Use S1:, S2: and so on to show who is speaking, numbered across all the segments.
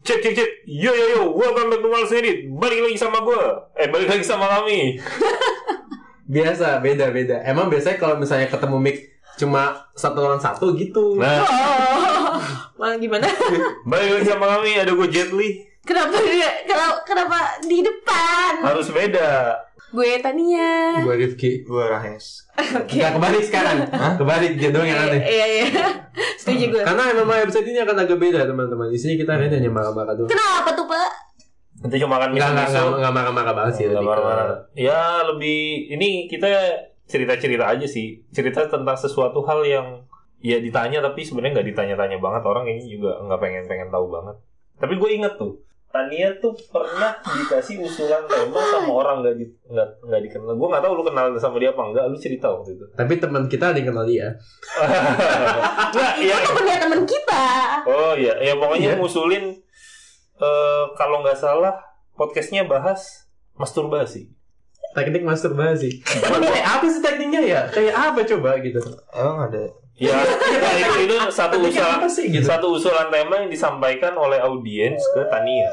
S1: Cek cek cek. Yo yo yo, welcome back to Males Edit. Balik lagi sama gue. Eh, balik lagi sama kami.
S2: Biasa, beda beda. Emang biasanya kalau misalnya ketemu mic cuma satu orang satu gitu.
S1: Nah,
S3: Oh, malah gimana?
S1: balik lagi sama kami ada gue Jetli.
S3: kenapa dia, kenapa, kenapa di depan?
S1: Harus beda.
S3: Gue Tania.
S2: Gue Rifki.
S1: Gue Rahes.
S3: Iya. Oke.
S2: Nggak kebalik sekarang. Kebalik dia doang yang aneh. Kan-
S3: Iya iya. Setuju gue.
S2: Karena memang episode ini akan agak beda teman-teman. Isinya kita hari ini hanya marah-marah doang.
S3: Kenapa tuh, Pak?
S1: Nanti cuma makan
S2: Enggak enggak enggak
S1: miso-miso.
S2: enggak marah-marah banget sih.
S1: Nggak
S2: lebih ke-
S1: marah-marah. Ya, lebih ini kita cerita-cerita aja sih. Cerita tentang sesuatu hal yang ya ditanya tapi sebenarnya nggak ditanya-tanya banget orang ini juga nggak pengen-pengen tahu banget. Tapi gue inget tuh Tania tuh pernah dikasih usulan tema sama orang nggak di, nggak nggak dikenal. Gue nggak tahu lu kenal sama dia apa nggak. Lu cerita waktu itu.
S2: Tapi teman kita ada yang kenal dia.
S1: Nggak,
S3: Itu kan
S1: ya.
S3: tuh punya temen kita.
S1: Oh iya, ya pokoknya
S2: Iya.
S1: ngusulin eh, kalau nggak salah podcastnya bahas masturbasi.
S2: Teknik masturbasi. Emang kayak apa sih tekniknya ya? Kayak apa coba gitu?
S4: Emang ada
S1: Ya, ya, itu, itu satu
S2: Tekniknya
S1: usulan
S2: apa sih gitu?
S1: satu usulan tema yang disampaikan oleh audiens ke Tania.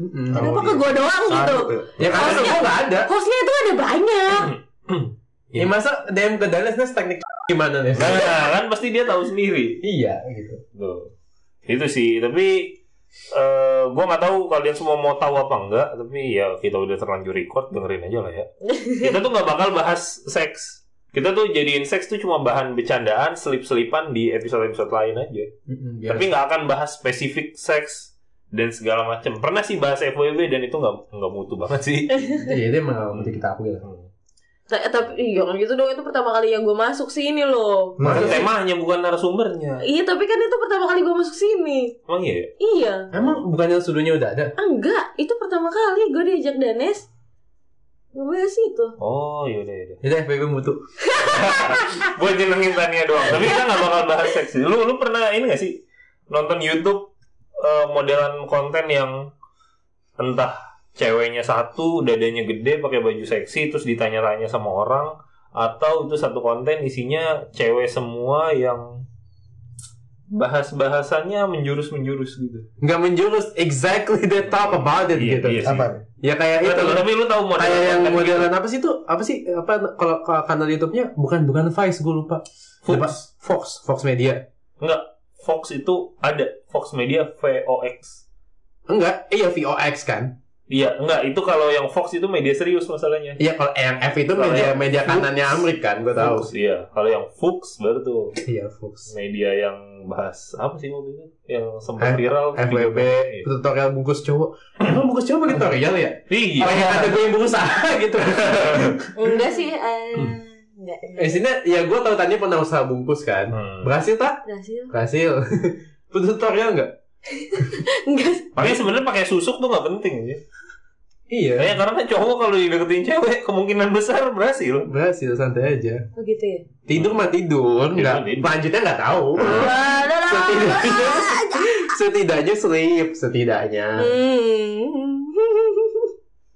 S2: Mm-mm.
S4: Tahu.
S3: Kenapa ke gue doang gitu?
S4: Satu,
S2: Ya
S4: ya.
S2: karena
S3: Harusnya-
S2: semua nggak ada.
S3: Hostnya itu ada banyak.
S2: Ya masa DM ke Dallas Nes teknik gimana nih?
S1: Nah, kan pasti dia tahu sendiri.
S2: Iya gitu.
S1: Tuh. Itu sih, tapi eh gue nggak tahu kalian semua mau tahu apa enggak, tapi ya kita udah terlanjur record, dengerin aja lah ya. Kita tuh nggak bakal bahas seks. Kita tuh jadiin seks tuh cuma bahan bercandaan, selip-selipan di episode-episode lain aja.
S2: Iya. Mm-mm, biar-
S1: Tapi nggak akan bahas spesifik seks dan segala macam. Pernah sih bahas FWB dan itu nggak nggak mutu banget sih.
S2: Iya, itu emang nggak mesti kita akui lah.
S1: Hmm.
S3: Ta- Tapi jangan gitu dong, itu pertama kali yang gue masuk sini loh.
S1: Kan
S2: Makanya-
S1: temanya bukan narasumbernya.
S3: Iya, tapi kan itu pertama kali gue masuk sini.
S1: Emang iya? ya?
S3: Iya. Ah,
S2: Emang bukannya sudunya udah ada?
S3: Enggak, itu pertama kali gue diajak Danes. Gue bahas itu.
S1: Oh, yaudah yaudah.
S2: Yaudah, FBB mutu.
S1: Buat nyenengin Tania doang. Tapi kita nggak bakal bahas seks. Lu lu pernah ini nggak sih nonton YouTube eh, modelan konten yang entah ceweknya satu dadanya gede pakai baju seksi terus ditanya-tanya sama orang atau itu satu konten isinya cewek semua yang bahas bahasannya menjurus menjurus gitu.
S2: Nggak menjurus exactly they talk about it
S1: Iya,
S2: gitu.
S1: iya sih.
S4: Apa?
S2: Ya kayak
S1: Nggak
S2: itu.
S1: tahu, tapi lu tahu model
S2: Kayak yang
S1: konten gitu?
S2: modelan apa sih itu? Apa sih? Apa kalau kalau kanal YouTube-nya? Bukan bukan Vice, gue lupa. Apa?
S1: Fox.
S2: Fox, Fox Media.
S1: Enggak, Fox itu ada Fox Media VOX.
S2: Enggak, iya VOX kan.
S1: Iya, enggak itu kalau yang Fox itu media serius masalahnya.
S2: Iya kalau yang F itu
S1: Kalau
S2: media
S1: yang
S2: media
S1: Fox.
S2: kanannya Amrik kan, gue tahu.
S1: Fox, iya. Kalau yang Fox baru tuh
S2: Iya Fox.
S1: media yang bahas apa sih waktu itu yang sempat
S2: F-
S1: viral
S2: FWB
S1: Iya.
S2: tutorial bungkus cowok. Emang bungkus cowok pakai tutorial ya?
S1: Iya.
S2: Oh, yang ada gue yang bungkus ah gitu.
S3: Enggak sih, eh, enggak.
S2: Eh sini ya gue tahu tadi pernah usaha bungkus kan.
S1: Hmm.
S2: Berhasil tak?
S3: Berhasil.
S2: Berhasil. Lu tutorial enggak?
S3: Enggak.
S1: Makanya sebenarnya pakai susuk tuh nggak penting ya.
S2: Iya.
S1: Kayaknya karena kan cowok kalau dideketin cewek kemungkinan besar berhasil.
S2: Berhasil santai aja.
S3: Oh gitu ya.
S2: Tidur mah tidur, enggak.
S1: tidur.
S2: Lanjutnya enggak tahu. Setidaknya setidaknya sleep setidaknya.
S1: Nah.
S3: Hmm.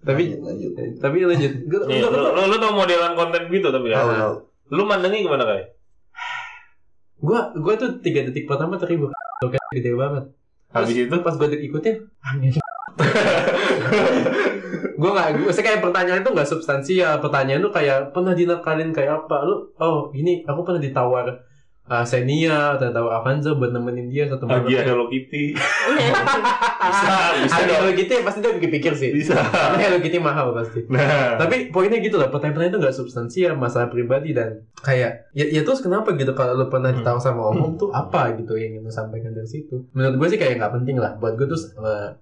S2: Tapi eh,
S4: lanjut.
S2: tapi lanjut. Gua-
S1: Iya,
S2: gua-
S1: lu, lu, lu tau modelan konten gitu tapi
S4: Tahu
S1: kan.
S4: tahu.
S1: Lu mandangnya gimana kayak?
S2: Gua gua tuh 3 detik pertama terhibur. Lo kan gede banget.
S1: Habis itu
S2: Pas gua ikutin angin. gua nggak gua saya kayak pertanyaan itu nggak substansial pertanyaan tuh kayak pernah dinakalin kayak apa lu oh ini aku pernah ditawar uh, Xenia atau ditawar Avanza buat nemenin dia satu malam
S1: lagi Hello Kitty.
S3: Hmm.
S1: Bisa, bisa
S2: Ada
S1: dong.
S2: kalau gitu ya pasti dia pikir-pikir sih.
S1: Bisa.
S2: Karena Hello Kitty mahal pasti.
S1: Nah,
S2: Tapi poinnya gitu lah, pertanyaan-pertanyaan itu gak substansial, masalah pribadi dan kayak ya, ya terus kenapa gitu kalau lu pernah ditahu sama om tuh apa gitu yang ingin lu sampaikan dari situ. Menurut gue sih kayak nggak penting lah. Buat gue tuh eh,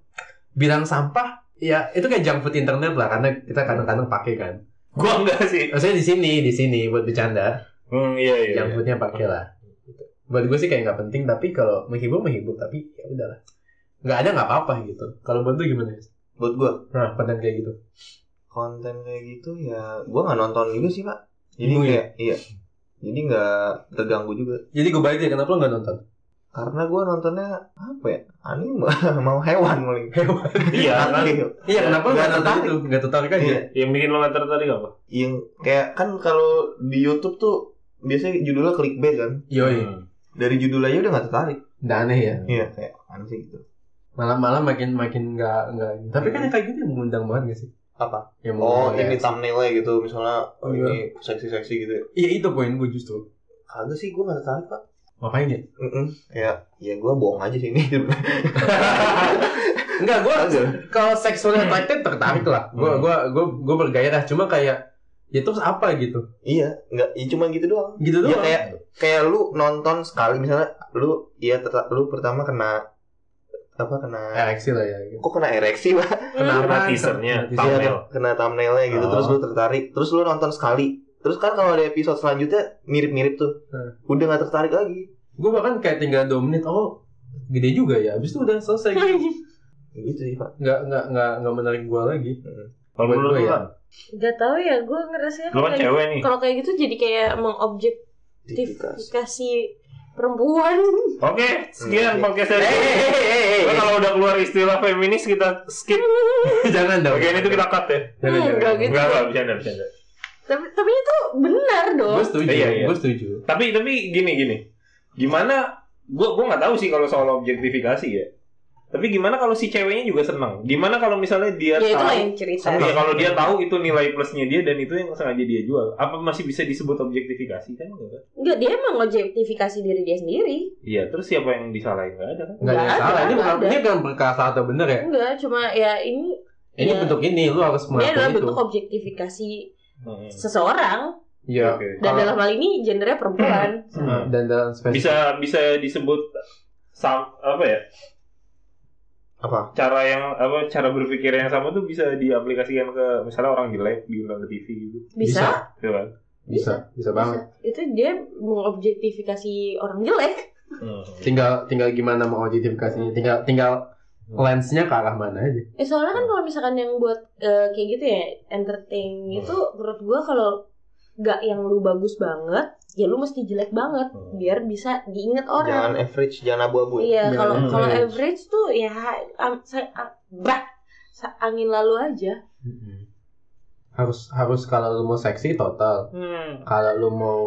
S2: bilang sampah ya itu kayak junk food internet lah karena kita kadang-kadang pakai kan.
S1: gua enggak sih.
S2: Maksudnya di sini, di sini buat bercanda,
S1: Hmm, iya iya.
S2: junk foodnya pakai lah. Gitu. Buat gue sih kayak nggak penting tapi kalau menghibur menghibur tapi ya udahlah. Nggak ada nggak apa-apa gitu. Kalau buat lu gimana?
S4: Buat gua
S2: Nah, konten kayak gitu.
S4: konten kayak gitu ya gua nggak nonton juga sih pak. Jadi
S2: Bingung ya?
S4: kayak iya. Jadi nggak terganggu juga
S2: Jadi gue balik ya, kenapa lo gak nonton?
S4: karena gua nontonnya apa ya anime mau hewan paling
S2: Hewan.
S1: Iya, kan?
S4: Anime.
S2: Iya,
S4: Ya,
S2: kenapa lo
S4: nggak
S2: gak nonton
S4: tertarik.
S2: itu? Gak tertarik aja?
S4: Iya.
S1: Yang bikin lo gak tertarik apa?
S4: yang kayak kan kalau di YouTube tuh biasanya judulnya clickbait kan
S2: Yoi.
S1: Hmm.
S4: dari judul aja udah nggak tertarik
S2: Udah aneh ya?
S4: iya kayak aneh sih gitu
S2: malam-malam makin makin nggak nggak ini. Tapi kan yang kayak gini mengundang banget gak sih?
S4: Apa?
S2: Ya,
S4: Oh,
S2: mengundang
S4: ini
S2: ya.
S4: thumbnailnya gitu misalnya oh,
S2: Iya.
S4: ini seksi-seksi gitu. ya.
S2: Iya itu poin gue justru.
S4: Kagak sih gue gak tertarik pak.
S2: Ngapain ya?
S4: Mm-mm. Ya, ya gue bohong aja sih ini.
S2: Enggak gue kalau seksual attracted tertarik lah. Gue
S1: Hmm.
S2: gue gue gue bergairah cuma kayak ya terus apa gitu?
S4: iya, nggak, ya cuma gitu doang.
S2: Gitu
S4: Ya
S2: doang.
S4: kayak kayak lu nonton sekali misalnya lu ya terta- lu pertama kena apa kena
S2: Ereksi lah ya. gitu.
S4: kok kena ereksi pak?
S1: Karena
S2: Kenapa?
S1: teasernya,
S2: Teaser.
S1: thumbnail.
S4: Iya, kena thumbnailnya gitu
S2: Oh.
S4: terus lu tertarik terus lu nonton sekali terus kan kalau ada episode selanjutnya mirip-mirip tuh
S2: Hmm.
S4: udah nggak tertarik lagi
S2: Gue bahkan kayak tinggal 2 menit. Oh gede juga ya. Abis itu udah selesai.
S4: gitu sih pak
S2: Nggak nggak nggak nggak menarik gue lagi.
S1: Kalau
S2: Buat
S1: menurut lu
S2: gue ya.
S1: kan,
S3: Gak tau ya, gue ngerasanya
S1: lu kan
S3: kayak-
S1: cewek nih.
S3: kalau kayak gitu jadi kayak
S4: Tipikas.
S3: mengobjektifikasi perempuan.
S1: Oke, sekian
S4: Hmm.
S1: podcast saya. Lu kalau udah keluar istilah feminis kita skip.
S2: Jangan dong.
S1: Bagian itu kita cut ya.
S2: Jangan,
S3: Hmm,
S2: jangan.
S3: nggak gitu.
S1: Enggak, enggak, bercanda, bercanda.
S3: Tapi tapi itu benar dong.
S2: Gue setuju.
S1: Iya, iya.
S2: Gue setuju.
S1: Tapi tapi gini gini. Gimana gua gua nggak tahu sih kalau soal objektifikasi ya. Tapi gimana kalau si ceweknya juga senang? Gimana kalau misalnya dia
S3: Ya itu
S1: tahu
S3: lain cerita.
S1: Iya, kalau dia tahu itu nilai plusnya dia dan itu yang sengaja dia jual. Apa masih bisa disebut objektifikasi kan? Enggak kan?
S3: Enggak, dia mengobjektifikasi diri dia sendiri.
S1: Iya, terus siapa yang disalahin? Enggak ada kan?
S2: Nggak ada yang
S3: Nggak
S2: salah.
S3: ada,
S2: Ini bukan
S3: nggak ada.
S2: ini bukan perkara salah atau benar ya.
S1: Iya.
S3: Enggak, cuma ya ini
S2: Ini
S3: Ya.
S2: bentuk ini lu harus
S3: dia adalah
S2: mengakui itu.
S3: bentuk objektifikasi
S1: gitu. Hmm.
S3: seseorang
S2: Iya.
S1: Oke.
S3: dan
S2: Kalau-
S3: dalam hal ini gendernya perempuan.
S1: Hmm.
S2: Dan dalam spesifik.
S1: Bisa bisa disebut sam, apa ya?
S4: Apa?
S1: Cara yang apa cara berpikir yang sama tuh bisa diaplikasikan ke misalnya orang jelek diundang ke TV gitu.
S3: Bisa?
S1: Gitu kan?
S2: Bisa, bisa banget.
S3: Itu dia mengobjektifikasi orang jelek.
S1: Hmm.
S2: Tinggal tinggal gimana mau objektifikasinya. Tinggal tinggal lensnya ke arah mana aja.
S3: Eh soalnya kan kalau misalkan yang buat eh, kayak gitu ya entertain itu menurut gua kalau gak yang lu bagus banget ya lu mesti jelek banget
S1: Hmm.
S3: biar bisa diinget
S4: jangan
S3: orang.
S4: average jangan abu-abu ya
S3: Iya
S2: Jangan
S3: kalau kalau
S2: average.
S3: average tuh ya am- sa- a- bah, sa- angin lalu aja.
S2: Hmm. Harus harus kalau lu mau seksi total.
S1: Hmm.
S2: Kalau lu mau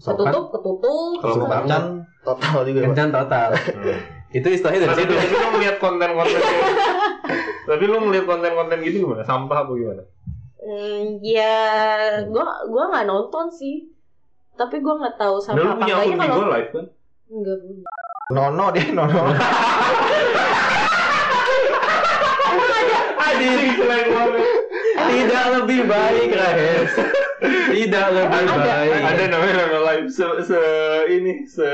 S2: sopan
S3: Ketutup ketutup.
S4: kalau mau
S2: Suka
S4: kencan total juga pak
S2: kencan total.
S1: Hmm.
S2: itu istilahnya dari
S1: Tapi,
S2: situ.
S1: tapi lu melihat konten-konten gitu? Tapi lu melihat konten-konten gitu gimana? Sampah apa gimana?
S3: Hmm, ya gua gua nggak nonton sih. Tapi gua nggak tahu sama
S1: Dan lu
S3: apa
S1: punya
S3: enggaknya
S1: akun di
S3: kalau
S1: Go Live kan?
S3: enggak punya.
S4: nono dia nono
S1: Anjing, jelek banget.
S2: Tidak lebih baik, Rahes. Tidak lebih
S3: Ada.
S2: baik.
S1: ada namanya Rame Live se, se ini se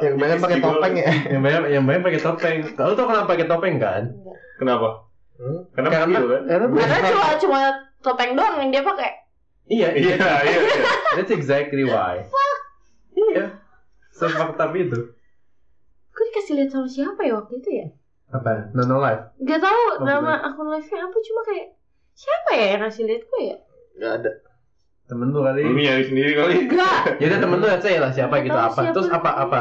S4: yang banyak pakai topeng ya
S2: Yang banyak yang banyak pakai topeng. Kalau tau kenapa pakai topeng kan?
S1: Kenapa?
S4: Hmm?
S1: Karena begitu kan?
S2: karena
S3: Karena cuma cuma topeng doang yang dia pakai.
S2: Iya, iya.
S1: Iya, iya, iya.
S2: That's exactly why. iya. Sefakta itu.
S3: Gue dikasih lihat sama siapa ya waktu itu ya?
S2: Apa? Nono Life.
S3: Gak tahu
S2: Oh,
S3: nama akun live-nya apa cuma kayak siapa ya yang ngasih lihat gue ya?
S4: nggak ada
S2: Temen lu kali.
S1: Lu nyari sendiri kali.
S3: Enggak.
S2: Ya udah temen lu aja lah siapa gitu
S3: Tahu
S2: apa.
S3: siapa.
S2: Terus apa apa?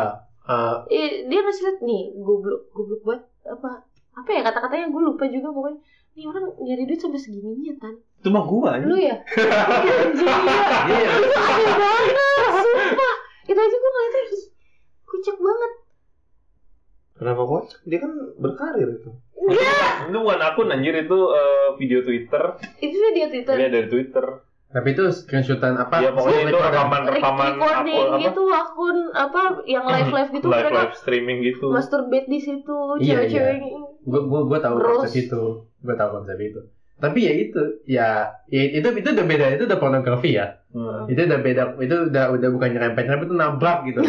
S2: Eh,
S3: Eh, dia ngasih lihat nih goblok goblok buat apa? Apa ya kata-katanya gue lupa juga pokoknya. Nih orang nyari duit sampai segininya tan.
S1: Itu mah gua
S3: Lu ya? Iya, anjing, iya.
S2: iya.
S3: Itu aneh banget, sumpah. Itu aja gue ngeliatnya ih, kucek banget.
S4: kenapa kocak dia kan berkarir itu
S1: Itu bukan akun anjir itu eh, video Twitter.
S3: Itu dia dia Twitter.
S1: Dia dari Twitter.
S2: Tapi itu screenshotan apa?
S1: Iya, pokoknya itu
S2: Recorder.
S1: rekaman-rekaman
S3: Recording
S1: akun apa?
S3: gitu akun apa yang live-live gitu
S1: live
S3: mereka
S1: live streaming gitu.
S3: masturbate di situ
S2: Iya,
S3: cewek-cewek
S2: Gue gue gue tahu
S3: Terus.
S2: konsep itu. Gue tahu konsep itu. Tapi ya itu, ya, ya itu itu udah beda, itu udah pornografi ya.
S1: Hmm.
S2: Itu udah beda, itu udah udah bukan nyerempet, nyerempet itu nabrak gitu.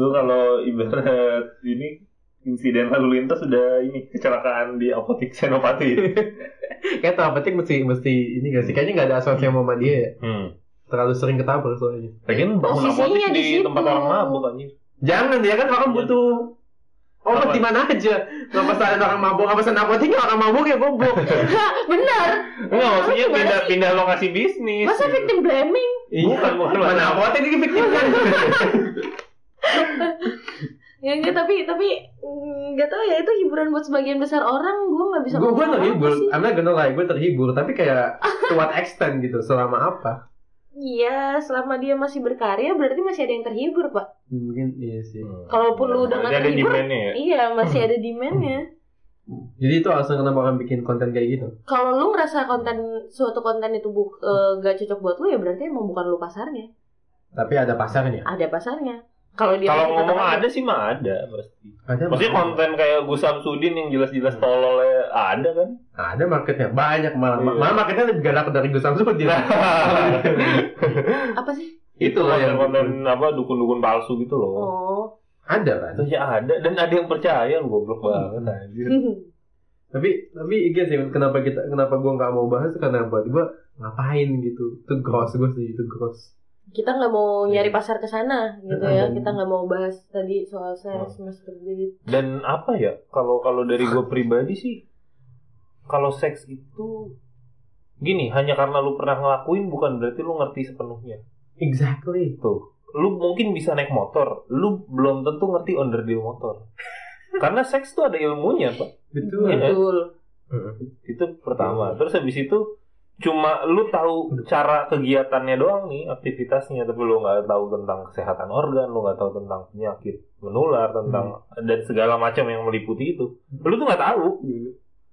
S1: Lu kalau ibarat ini insiden lalu lintas sudah ini kecelakaan di apotik Senopati.
S2: Kayak tau penting mesti mesti ini gak sih? Kayaknya nggak ada asosiasi sama dia ya.
S1: hmm.
S2: Terlalu sering ketabrak soalnya.
S1: Lagian bangun
S3: Posisinya
S1: apotik
S3: di
S1: di
S3: situ.
S1: tempat orang mabuk anjir.
S2: Jangan dia kan orang
S1: Jangan.
S2: butuh
S1: Iya.
S2: obat
S1: Apa?
S2: di mana aja. Nggak pesan orang mabuk, nggak pesan apoteknya orang mabuk ya goblok.
S3: Hah, bener
S1: Enggak, maksudnya
S3: Gimana
S1: pindah
S3: sih?
S1: pindah lokasi bisnis.
S3: masa
S1: gitu.
S3: victim blaming
S1: Bukan, bukan.
S2: mana apotek ini fiktif kan.
S3: ya enggak tapi tapi mm, nggak tahu ya itu hiburan buat sebagian besar orang gue nggak bisa
S2: Gue gue
S3: ngomong apa
S2: terhibur,
S3: sih.
S2: I'm not gonna lie, gue terhibur. Tapi kayak to what extent gitu, selama apa?
S3: Iya, selama dia masih berkarya berarti masih ada yang terhibur, Pak.
S2: mungkin iya sih
S1: Hmm.
S3: Kalaupun lu udah nggak
S1: Jadi ada
S3: terhibur,
S1: demand-nya ya.
S3: Iya, masih ada demand-nya.
S2: jadi itu alasan kenapa orang bikin konten kayak gitu
S3: Kalau lu ngerasa konten suatu konten itu bu, eh, gak cocok buat lu ya berarti emang bukan lu pasarnya.
S2: tapi ada pasarnya
S3: Ada pasarnya. Kalau dia
S1: Kalau
S3: masih tetap
S1: ngomong ada sih mah ada pasti.
S2: ada
S1: Maksudnya
S2: marketnya.
S1: konten kayak Gus Samsudin yang jelas-jelas tololnya ada kan?
S2: ada marketnya banyak malah
S1: Iya.
S2: malah marketnya lebih galak dari Gus Samsudin
S3: apa sih?
S1: itu
S2: Itulah yang-
S1: konten-konten apa dukun-dukun palsu gitu loh.
S3: Oh.
S2: ada kan
S1: Itu aja ada dan ada yang percaya lu goblok banget anjir.
S3: Oh.
S2: tapi tapi iya sih kenapa kita kenapa gue nggak mau bahas tuh karena buat gue ngapain gitu itu gross gue setuju itu gross
S3: kita nggak mau nyari pasar ke sana gitu
S2: Mm-mm.
S3: ya kita nggak mau bahas tadi soal seks masturbate
S1: Dan apa ya? Kalau kalau dari gue pribadi sih kalau seks itu gini hanya karena lu pernah ngelakuin bukan berarti lu ngerti sepenuhnya.
S2: exactly
S1: Tuh, lu mungkin bisa naik motor, lu belum tentu ngerti onderdil motor. Karena seks tuh ada ilmunya, Pak.
S2: betul
S1: Iya.
S3: betul
S1: itu pertama terus habis itu cuma lu tahu cara kegiatannya doang nih aktivitasnya tapi lu nggak tahu tentang kesehatan organ lu nggak tahu tentang penyakit menular tentang
S2: Hmm.
S1: dan segala macam yang meliputi itu lu tuh nggak tahu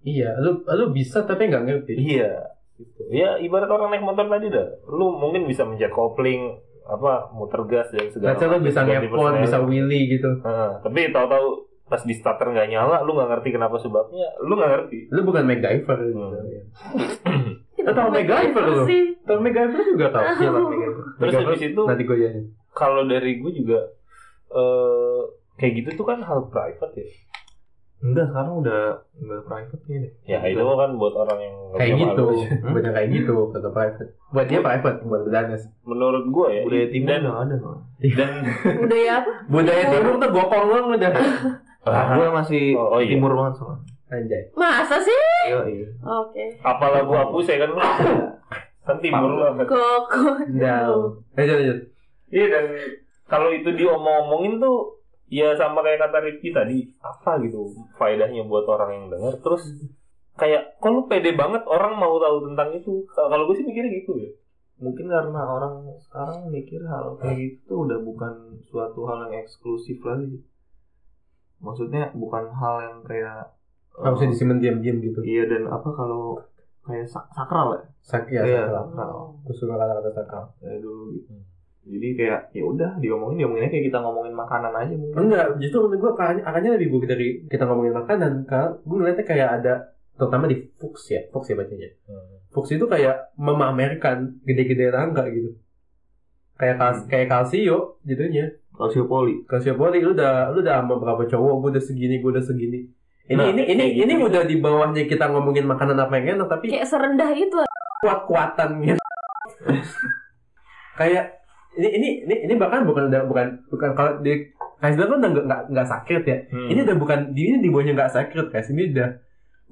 S2: iya lu lu bisa tapi nggak ngerti
S1: iya gitu. ya ibarat orang naik motor tadi dah lu mungkin bisa mencet kopling apa muter gas dan segala
S2: Rasa lu bisa
S1: ganti
S2: ngepon,
S1: persneling.
S2: bisa willy gitu.
S1: Heeh, tapi tahu-tahu pas di starter nggak nyala lu nggak ngerti kenapa sebabnya lu nggak ngerti
S2: Lu bukan MacGyver gitu.
S1: Hmm.
S2: ya.
S3: Kita
S2: Atau
S3: mau
S2: MacGyver
S3: MacGyver
S2: lu.
S3: sih.
S2: Tapi MacGyver juga tau. Iya lah MacGyver.
S1: terus
S2: MacGyver
S1: habis itu
S2: nanti gue jelasin.
S1: kalau dari gue juga eh kayak gitu tuh kan hal private ya.
S4: Enggak, sekarang udah enggak private nih deh.
S1: Ya itu kan buat orang yang nggak
S2: Kayak
S1: punya
S2: gitu.
S1: malu.
S2: Buatnya kayak gitu. Kata private. Buat dia private. Buat Danes.
S1: Menurut gue ya.
S4: Budaya timur
S1: dan,
S4: udah nggak ada. Bang.
S1: dan
S3: budaya apa
S2: Budaya timur tuh gokong banget udah.
S4: Nah,
S1: Ah,
S4: gue masih
S1: Oh, oh iya.
S4: timur banget soalnya.
S2: Anjay.
S3: masa sih
S4: Iya, iya.
S3: oke
S1: apalah gue hapus ya kan. kan timur lah. kan.
S3: koko
S2: Down. Lanjut lanjut.
S1: Iya dan kalau itu diomong-omongin tuh ya sama kayak kata Rifki tadi apa gitu faedahnya buat orang yang dengar terus kayak kok lu pede banget orang mau tahu tentang itu kalau gue sih mikirnya gitu ya
S4: Mungkin karena orang sekarang mikir hal kayak gitu tuh udah bukan suatu hal yang eksklusif lagi. Maksudnya bukan hal yang kayak eh,
S2: Harusnya disimpan diam-diam gitu.
S4: Iya dan apa kalau kayak sak- sakral ya?
S2: Sak ya.
S4: Iya.
S2: sakral. Gue suka kata-kata sakral.
S4: Kayak dulu gitu. Jadi kayak ya udah diomongin diomonginnya kayak kita ngomongin makanan aja mungkin.
S2: Enggak. Justru menurut gue arahnya lebih buruk dari kita ngomongin makanan. Karena gue ngeliatnya kayak ada terutama di Fox ya, Fox ya bacanya.
S1: Hmm.
S2: Fox itu kayak memamerkan gede-gede tangga gitu. Kayak kas
S1: Hmm.
S2: kayak Casio jadinya.
S4: Kalsiopoli.
S2: Casio Poli lu udah lu udah sama berapa cowok, gue udah segini, gue udah segini. Ini
S1: Nah,
S2: ini ini
S1: kayak gitu.
S2: ini udah di bawahnya kita ngomongin makanan apa yang enak tapi
S3: kayak serendah itu
S2: kuat-kuatan gitu. kayak ini ini ini ini bahkan bukan udah bukan bukan kalau di Kaisler kan udah nggak nggak- nggak sakit ya.
S1: Hmm.
S2: Ini udah bukan di ini di bawahnya nggak sakit guys. Ini udah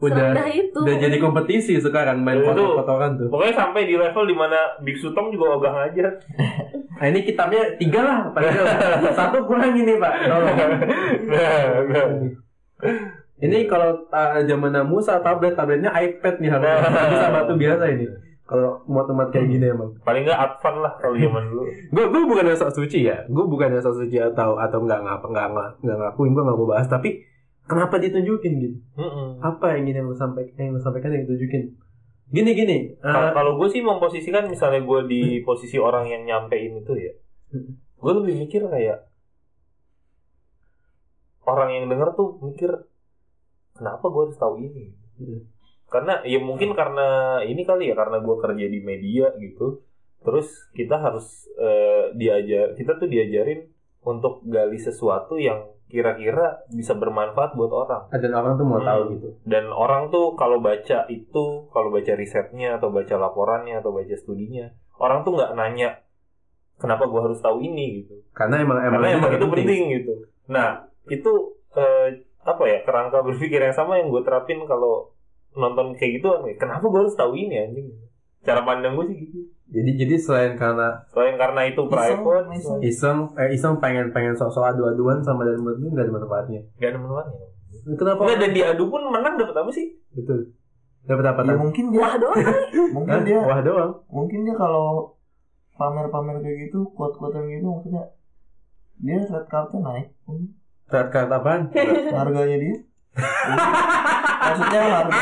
S2: udah
S3: serendah itu
S2: udah jadi kompetisi sekarang main
S1: Itu-
S2: kotor-kotoran tuh.
S1: pokoknya sampai di level dimana Biksu Tom juga ogah aja
S2: Nah ini kitabnya tiga lah padahal satu kurang ini pak. Tolong.
S1: nah, nah.
S2: Ini kalau uh, zaman Musa tablet tabletnya iPad nih harusnya bisa batu biasa ini. Kalau muat-muat kayak gini emang.
S1: paling nggak advan lah kalau zaman dulu
S2: Gue gue bukan yang sok suci ya. Gue bukan yang sok suci atau atau nggak ngapa nggak nga- nggak ngakuin gue nggak mau bahas. Tapi kenapa ditunjukin gitu? Apa yang ingin yang lu sampaikan yang lu sampaikan yang ditunjukin? Gini gini.
S1: Kalau-
S2: Uh,
S1: kalau gue sih memposisikan misalnya gue di posisi orang yang nyampein itu ya gue lebih mikir kayak orang yang denger tuh mikir kenapa gue harus tahu ini
S2: Hmm.
S1: karena ya mungkin karena ini kali ya karena gue kerja di media gitu terus kita harus eh, diajar kita tuh diajarin untuk gali sesuatu yang kira-kira bisa bermanfaat buat orang
S2: ada orang tuh mau
S1: Hmm.
S2: tahu gitu.
S1: dan orang tuh kalau baca itu kalau baca risetnya atau baca laporannya atau baca studinya orang tuh nggak nanya kenapa gua harus tahu ini gitu
S2: Karena emang emang,
S1: karena emang
S2: juga
S1: itu penting gitu nah itu eh, apa ya kerangka berpikir yang sama yang gue terapin kalau nonton kayak gitu kan, kenapa gua harus tahu ini anjing cara pandang gue sih gitu
S2: Jadi jadi selain karena
S1: selain karena itu private
S4: iseng.
S2: iseng eh, iseng pengen pengen sok-sok adu-aduan sama dan menurut gue nggak ada manfaatnya.
S1: nggak ada manfaatnya
S2: Kenapa?
S1: Nggak, dan diadu pun menang dapat apa sih
S2: Betul. Iya, Dapat apa?
S4: Ya
S2: tadi?
S4: mungkin dia
S3: doang
S4: mungkin dia
S2: Hah? Wah doang.
S4: mungkin dia kalau
S5: pamer-pamer kayak gitu kuat-kuatan gitu maksudnya dia red cardnya naik mungkin.
S2: Red card apaan?
S5: harganya dia maksudnya harga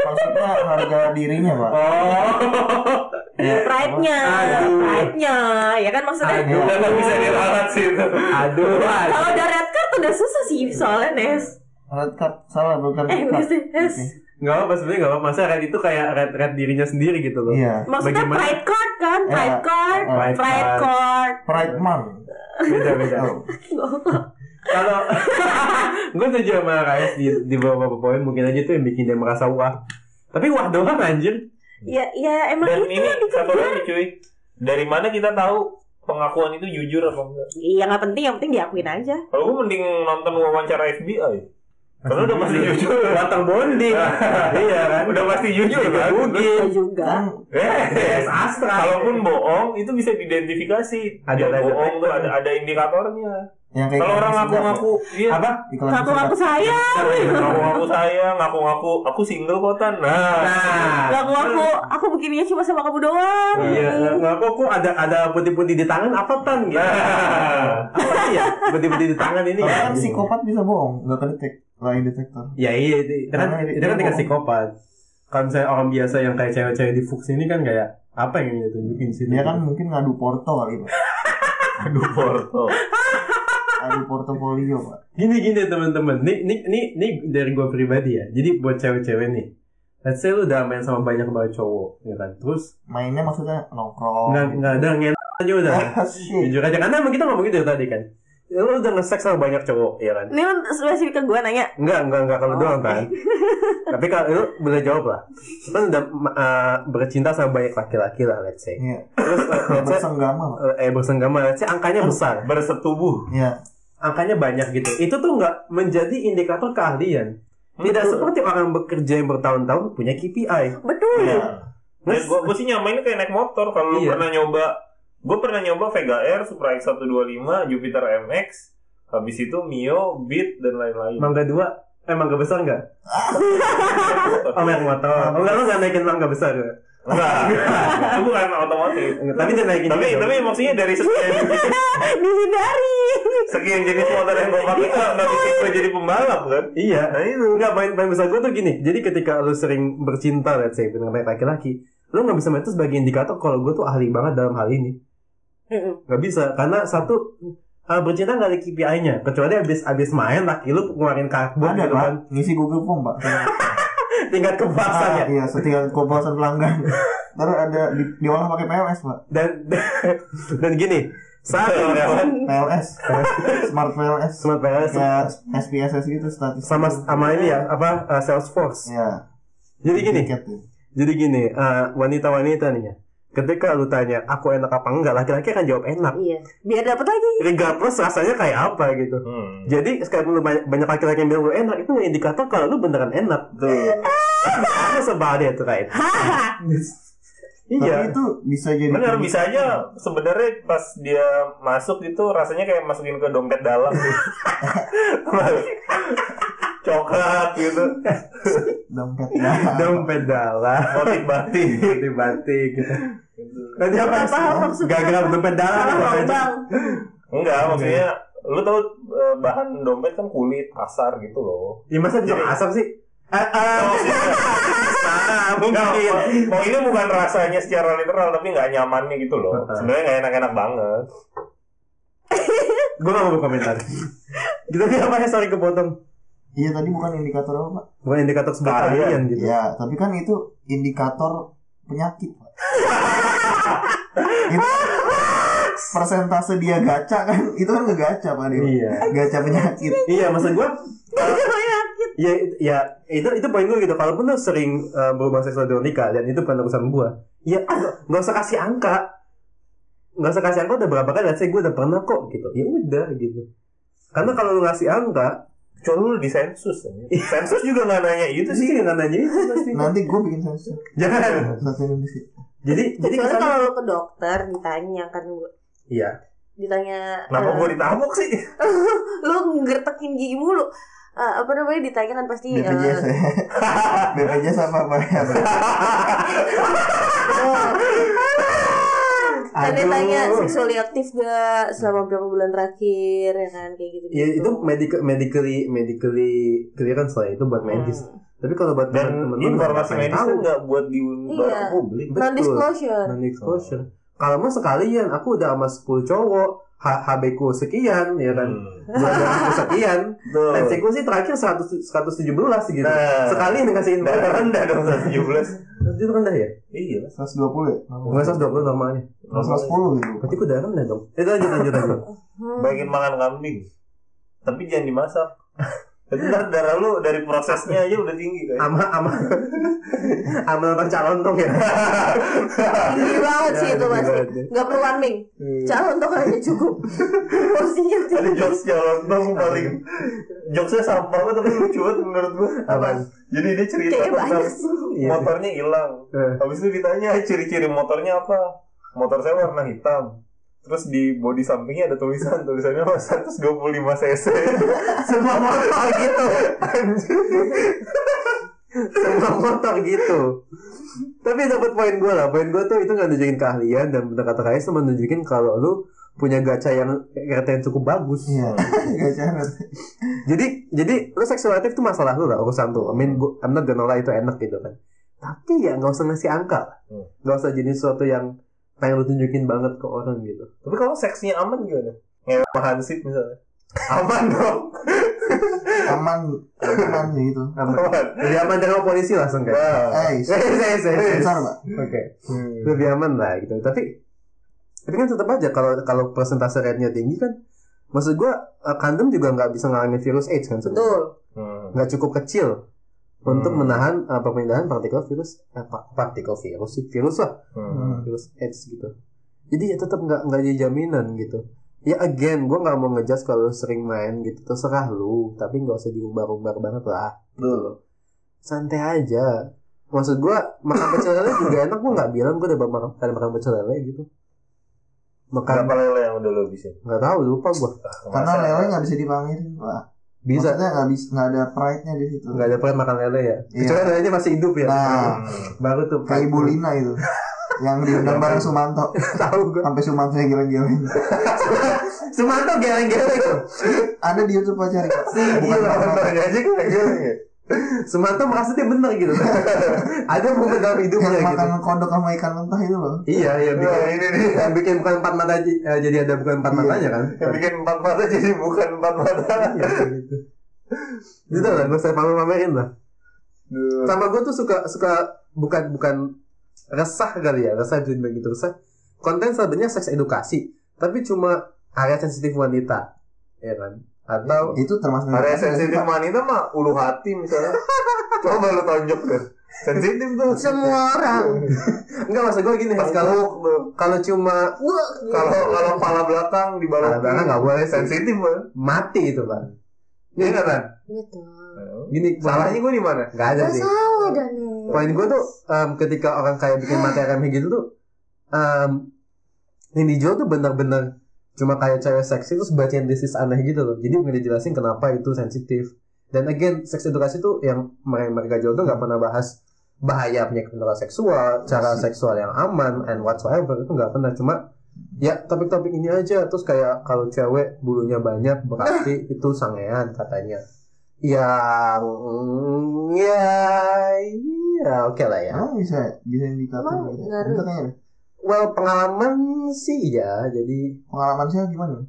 S5: maksudnya harga dirinya pak
S2: Oh,
S5: ya,
S6: Pride-nya,
S2: Aduh.
S6: pride-nya, ya kan maksudnya.
S2: Aduh.
S1: Nggak bisa diralat sih itu.
S2: aduh,
S6: Kalau
S2: aduh.
S6: udah red card udah susah sih soalnya Nes.
S5: red card salah bukan red
S6: Eh, bukan
S5: card
S6: sih, yes.
S5: Oke.
S2: Gak apa sebenarnya gak apa. Masa red itu kayak red red dirinya sendiri gitu loh.
S5: iya
S6: Maksudnya
S2: Bagaimana?
S6: pride card kan, pride
S5: Ya.
S6: card,
S5: Eh,
S2: Pride Iya.
S6: pride
S2: card.
S6: card.
S5: pride man
S2: Beda beda.
S5: oh.
S2: Kalau gue setuju sama Rais di, di beberapa poin mungkin aja tuh yang bikin dia merasa wah. Tapi wah doang anjir.
S6: Ya, ya emang
S1: Dan
S6: itu
S1: ini satu lagi cuy. Dari mana kita tahu pengakuan itu jujur apa enggak?
S6: Iya nggak penting, yang penting diakuin aja.
S1: Kalau gue mending nonton wawancara FBI. Karena udah pasti
S2: Iya.
S1: jujur.
S2: Watang bonding. iya kan.
S1: Udah pasti jujur kan?
S6: Kita
S2: Mungkin.
S6: Iya juga.
S5: kan
S1: Eh,
S2: Yes, Astra.
S1: Kalaupun bohong itu bisa diidentifikasi.
S2: Ada
S1: Dia
S2: tanda
S1: bohong tuh
S2: tanda.
S1: ada ada indikatornya.
S5: yang kayak
S1: Kalau
S5: iklan
S1: orang
S5: sedap,
S1: ngaku-ngaku, iya.
S2: Apa?
S5: Pak. iklan
S6: Ngaku ngaku
S5: sedap.
S6: saya,
S1: Ngaku-ngaku saya, ngaku-ngaku aku single kok tan. Nah,
S2: Nah.
S6: ngaku ngaku aku begininya cuma sama kamu doang.
S2: Iya,
S6: Nah.
S2: nggak kok kok ada ada putih-putih di tangan apa tan gitu.
S1: Nah.
S2: Apa sih ya? Putih-putih di tangan ini
S5: Kalau
S2: ya.
S5: kan psikopat bisa bohong nggak kedetek lain detektor
S2: Ya iya itu, itu kan itu kan tingkat psikopat. Kalau misalnya orang biasa yang kayak cewek-cewek di Fuchs ini kan kayak apa yang ingin ditunjukin sih?
S5: dia kan mungkin ngadu porto kali pak
S1: aduh Porto.
S5: ngadu portofolio pak
S2: gini gini teman-teman nih nih nih nih dari gue pribadi ya jadi buat cewek-cewek nih let's say lu udah main sama banyak banget cowok ya kan terus
S5: mainnya maksudnya
S2: nggak
S5: nongkrong gitu. Iya,
S2: nggak Iya, ada ngen aja udah
S5: Asik.
S2: jujur aja karena emang kita ngomong gitu dari tadi kan Ya, lu udah nge-sex sama banyak cowok ya kan
S6: Ini kan spesifik ke gue nanya.
S2: Enggak, enggak, enggak kalau
S6: Oh,
S2: doang
S6: oke.
S2: kan. Tapi kalau lu boleh jawab lah. Lu Kan udah eh, bercinta sama banyak laki-laki lah, let's say.
S5: Iya,
S2: Terus eh, let's say
S5: bersenggama pak
S2: eh, eh bersenggama, let's say angkanya besar,
S1: Bersetubuh.
S5: Iya,
S2: angkanya banyak gitu. Itu tuh enggak menjadi indikator keahlian. Tidak
S1: Hmm, Betul.
S2: seperti orang bekerja yang bertahun-tahun punya KPI.
S6: Betul.
S5: iya.
S1: Dan gue gue sih nyamainnya kayak naik motor. Kalau lu
S2: Iya.
S1: pernah nyoba, gue pernah nyoba Vega Air, Supra X125, Jupiter MX, habis itu Mio, Beat dan lain-lain.
S2: Mangga dua Eh, mangga besar enggak?
S1: Motor.
S2: Oh, merek motor. Oh, enggak, lu enggak naikin mangga besar.
S1: Enggak, Nah. itu bukan otomotif.
S2: Enggak, Tapi dia naikin
S1: Tapi
S2: juga.
S1: tapi maksudnya dari sekian
S6: Dihindari.
S1: sekian jenis motor yang gue pakai nggak nggak bikin gue jadi pembalap kan?
S2: Iya.
S1: Nah itu.
S2: Enggak main main besar gue tuh gini. Jadi ketika lu sering bercinta let's say dengan banyak laki-laki, lu nggak bisa main itu sebagai indikator kalau gue tuh ahli banget dalam hal ini.
S6: Mm-mm.
S2: Nggak bisa karena satu ah, bercinta nggak ada KPI-nya. Kecuali abis abis main laki lu ngeluarin karbon
S5: Ada
S2: gitu
S5: pak,
S2: kan.
S5: ngisi Google Form pak.
S2: Tingkat kepuasan ya.
S5: Ah, Iya, setingkat kepuasan pelanggan. Terus ada di, diolah pakai PLS pak,
S2: Dan dan gini saat kan,
S5: PLS, smart PLS,
S2: Smart PLS.
S5: kayak SPSS gitu statistik.
S2: sama sama ini ya apa eh, Salesforce.
S5: Iya.
S2: Jadi gini.
S5: tiket tuh.
S2: Jadi gini, eh, wanita-wanita nih ya. Ketika lu tanya aku enak apa enggak, laki-laki akan jawab enak.
S6: Iya. Biar dapat lagi.
S2: Regardless rasanya kayak apa gitu.
S1: Hmm.
S2: Jadi sekarang lu banyak, banyak laki-laki yang bilang lu enak itu indikator kalau lu beneran enak.
S1: Tuh.
S2: Ada sebab dia tuh right.
S6: Haha.
S5: Tapi
S2: Iya.
S5: itu bisa jadi.
S1: Bener bisa aja sebenarnya pas dia masuk gitu rasanya kayak masukin ke dompet dalam gitu. coklat gitu
S5: Dompet. Nah,
S2: Dompet dalam,
S1: motif batik
S2: batik-batik gitu. Tadi apa?
S6: Nggak paham maksudnya.
S2: Gagal dompet dalam.
S6: Salah
S2: apa aja.
S6: lubang.
S1: enggak
S2: Iya.
S1: maksudnya lu tau eh, bahan dompet kan kulit kasar gitu loh
S2: Ya masa bisa asap sih? Eh, eh,
S1: Enggak,
S2: ah, mungkin.
S1: mau Nah, ini bukan rasanya secara literal tapi nggak nyamannya gitu loh
S2: Heeh.
S1: sebenarnya nggak enak-enak banget
S2: Gue gak mau berkomentar. Gitu apa ya sorry kepotong.
S5: Iya tadi bukan indikator apa pak?
S2: Bukan indikator sebagai
S1: Keahlian.
S2: kalian gitu.
S5: Iya, tapi kan itu indikator penyakit pak. itu persentase dia gaca kan itu kan ngegaca pak dia
S2: Iya.
S5: gaca penyakit
S2: Iya, maksud gue ya, ya itu itu poin gue gitu. Kalaupun lu sering uh, berhubungan seksual di luar nikah dan itu bukan urusan gue, ya nggak nggak usah kasih angka, nggak usah kasih angka udah berapa kali. Saya gue udah pernah kok gitu. Ya udah gitu. Karena kalau lu ngasih angka,
S1: Cuma lu di sensus aja. sensus juga nggak nanya
S2: itu
S1: gitu
S2: sih
S1: sih
S2: nggak nanya itu pasti.
S1: Nah.
S5: nanti gue bikin sensus
S2: Jangan.
S5: satu Indonesia
S2: Jadi jadi
S6: Kecuali
S2: kesannya-
S6: kalau lu ke dokter ditanya kan gua.
S2: Iya.
S6: ditanya
S1: kenapa
S6: eh,
S1: gua ditabok sih
S6: lu ngertekin gigi mulu Eh, apa namanya ditanya kan
S3: Iya.
S6: pasti eh,
S5: BPJS ya BPJS apa pak
S3: Kan
S2: Aduh.
S3: dia tanya seksually aktif gak selama berapa bulan terakhir ya kan kayak gitu.
S2: Ya itu medical, medically medically clearance lah itu buat medis. Tapi kalau buat
S1: Dan
S2: teman-teman
S1: informasi
S2: ngapain
S1: medis
S2: tahu?
S1: tuh nggak buat diumbar
S3: Iya.
S1: ke publik.
S2: Betul.
S3: Non disclosure.
S2: non disclosure. Kalau mah sekalian aku udah sama 10 cowok, H- HB ku sekian ya kan.
S1: Hmm.
S2: Bulan ku sekian,
S1: Betul.
S2: tensi ku sih terakhir 100 117 gitu.
S1: Nah.
S2: Sekali dikasih info.
S1: Nah, rendah dong 117
S2: Itu rendah ya?
S1: Iya lah
S5: 120 ya?
S2: Enggak 120 normalnya.
S5: 110 gitu.
S2: Berarti ku udah rendah dong. Eh lanjut lanjut lanjut.
S3: Hmm.
S1: Bagiin makan kambing Tapi jangan dimasak Itu ntar darah lu dari prosesnya aja udah tinggi kayak
S2: Ama ama ama nonton calon dong ya.
S3: Tinggi banget sih itu
S2: Ya,
S3: pasti.
S2: tinggi
S3: Gak perlu warming.
S5: Iya.
S3: Calon tuh aja cukup. Porsinya
S1: Ada
S3: tinggi.
S1: jokes jalan dong paling Jokesnya sampah banget tapi lucu banget menurut gua
S2: Apaan?
S1: Jadi dia cerita
S3: Kayaknya
S1: tentang
S3: banyak sih.
S2: Iya.
S1: motornya hilang
S2: Eh.
S1: Habis itu ditanya ciri-ciri motornya apa Motor saya warna hitam Terus di bodi sampingnya ada tulisan Tulisannya apa? 125 cc
S2: Semua motor gitu. Semua motor gitu. Tapi dapat poin gue lah. Poin gue tuh itu nggak nunjukin keahlian dan bener kata kaya cuma nunjukin kalau lu punya gacha yang kereta yang cukup bagus.
S5: Iya. Gak syarat.
S2: Jadi jadi lu seksual aktif tuh masalah lu lah urusan tuh. I mean gua, I'm not gonna lie, itu enak gitu kan. Tapi ya nggak usah ngasih angka. lah.
S1: Hmm.
S2: Nggak usah jadi sesuatu yang pengen lu tunjukin banget ke orang gitu.
S1: Tapi kalau seksnya aman gimana? Ngewe sama hansip misalnya Aman dong
S5: Aman. Aman sih itu.
S1: Aman
S2: Lebih aman dengan polisi lah sengkai.
S1: Wah.
S5: Eh, sensor pak.
S2: Oke.
S1: Hmm.
S2: lebih
S5: Iya.
S2: aman lah gitu tapi tapi kan tetap aja kalau kalau persentase rate-nya tinggi kan maksud gua eh, kandung juga nggak bisa ngalamin virus AIDS kan sebenarnya.
S3: Betul.
S1: Hmm.
S2: nggak cukup kecil untuk
S1: Hmm.
S2: menahan eh, perpindahan partikel virus eh, pa- partikel virus sih, virus lah
S1: Hmm.
S2: virus AIDS gitu jadi ya tetap nggak nggak jadi jaminan gitu ya again gua nggak mau ngejudge kalau lu sering main gitu terserah lu tapi nggak usah diumbar-umbar banget lah Betul. santai aja maksud gua makan pecel lele juga enak gua nggak bilang gua udah makan ada makan pecel lele gitu makan
S1: Berapa lele yang udah lo habisin?
S2: nggak tahu lupa gua
S5: Karena lele nggak bisa dipamerin pak.
S2: bisa
S5: Maksudnya nggak bisa nggak ada pride nya di situ.
S2: nggak ada pernah makan lele ya
S5: Iya.
S2: kecuali lelenya masih hidup ya
S5: Nah,
S2: baru tuh
S5: kayak Ibu Lina itu. Yang diundang bareng Sumanto.
S2: tahu gua
S5: Sampai Sumanto yang geleng-geleng.
S2: Sumanto geleng-geleng tuh.
S5: Ada di YouTube pak cari. Pak. Bukan
S2: Gila,
S5: Sumanto.
S2: nontonnya aja geleng-geleng ya. Sumanto merasa dia benar gitu ada momen dalam hidupnya
S5: Yang
S2: gitu
S5: makan kodok sama ikan mentah itu loh.
S2: iya iya bikin
S1: Nah, ini nih
S2: yang bikin bukan empat mata ji- eh, jadi ada bukan empat
S5: Iya.
S2: matanya kan
S1: yang bikin empat mata jadi bukan empat mata.
S2: Iya, gitu Gitu lah gue saya pamer pamerin lah
S1: Duh.
S2: sama gue tuh suka suka bukan bukan resah kali ya resah bisa dibilang gitu resah konten sebenarnya seks edukasi tapi cuma area sensitif wanita ya kan atau
S5: Itu termasuk
S1: Area
S5: edukasi nggak sih,
S1: sensitif
S5: Pak?
S1: wanita mah ulu hati misalnya. Coba lo tonjok deh. Sensitif tuh.
S3: Semua orang.
S2: enggak maksud gue gini
S1: Pas
S2: kalau
S1: kalau tuh.
S2: kalau cuma
S3: Wah,
S1: Kalau kalau pala belakang di bawah
S2: Pala belakang nggak boleh.
S1: sensitif kan.
S2: mati itu kan
S1: Iya nggak kan?
S6: Hmm,
S3: gitu.
S2: gini
S1: Salahnya gue di mana?
S2: nggak ada sih
S3: Masalah dan
S2: poin gue tuh em, ketika orang kayak bikin materi kayak gitu tuh em, yang dijual tuh bener-bener cuma kayak cewek seksi terus bacain disis aneh gitu loh jadi nggak dijelasin kenapa itu sensitif dan again seks edukasi tuh yang mereka mereka jual tuh nggak pernah bahas bahaya penyakit menular seksual
S5: Iya
S2: cara seksual yang aman and whatsoever itu nggak pernah cuma ya topik-topik ini aja terus kayak kalau cewek bulunya banyak berarti
S5: Eh.
S2: itu sangean katanya yang mm, ya ya oke lah ya
S5: Emang bisa bisa indikator
S3: Emang
S5: gitu.
S3: ngaruh?
S5: Itu kayaknya deh.
S2: well pengalaman sih ya jadi
S5: pengalaman saya gimana?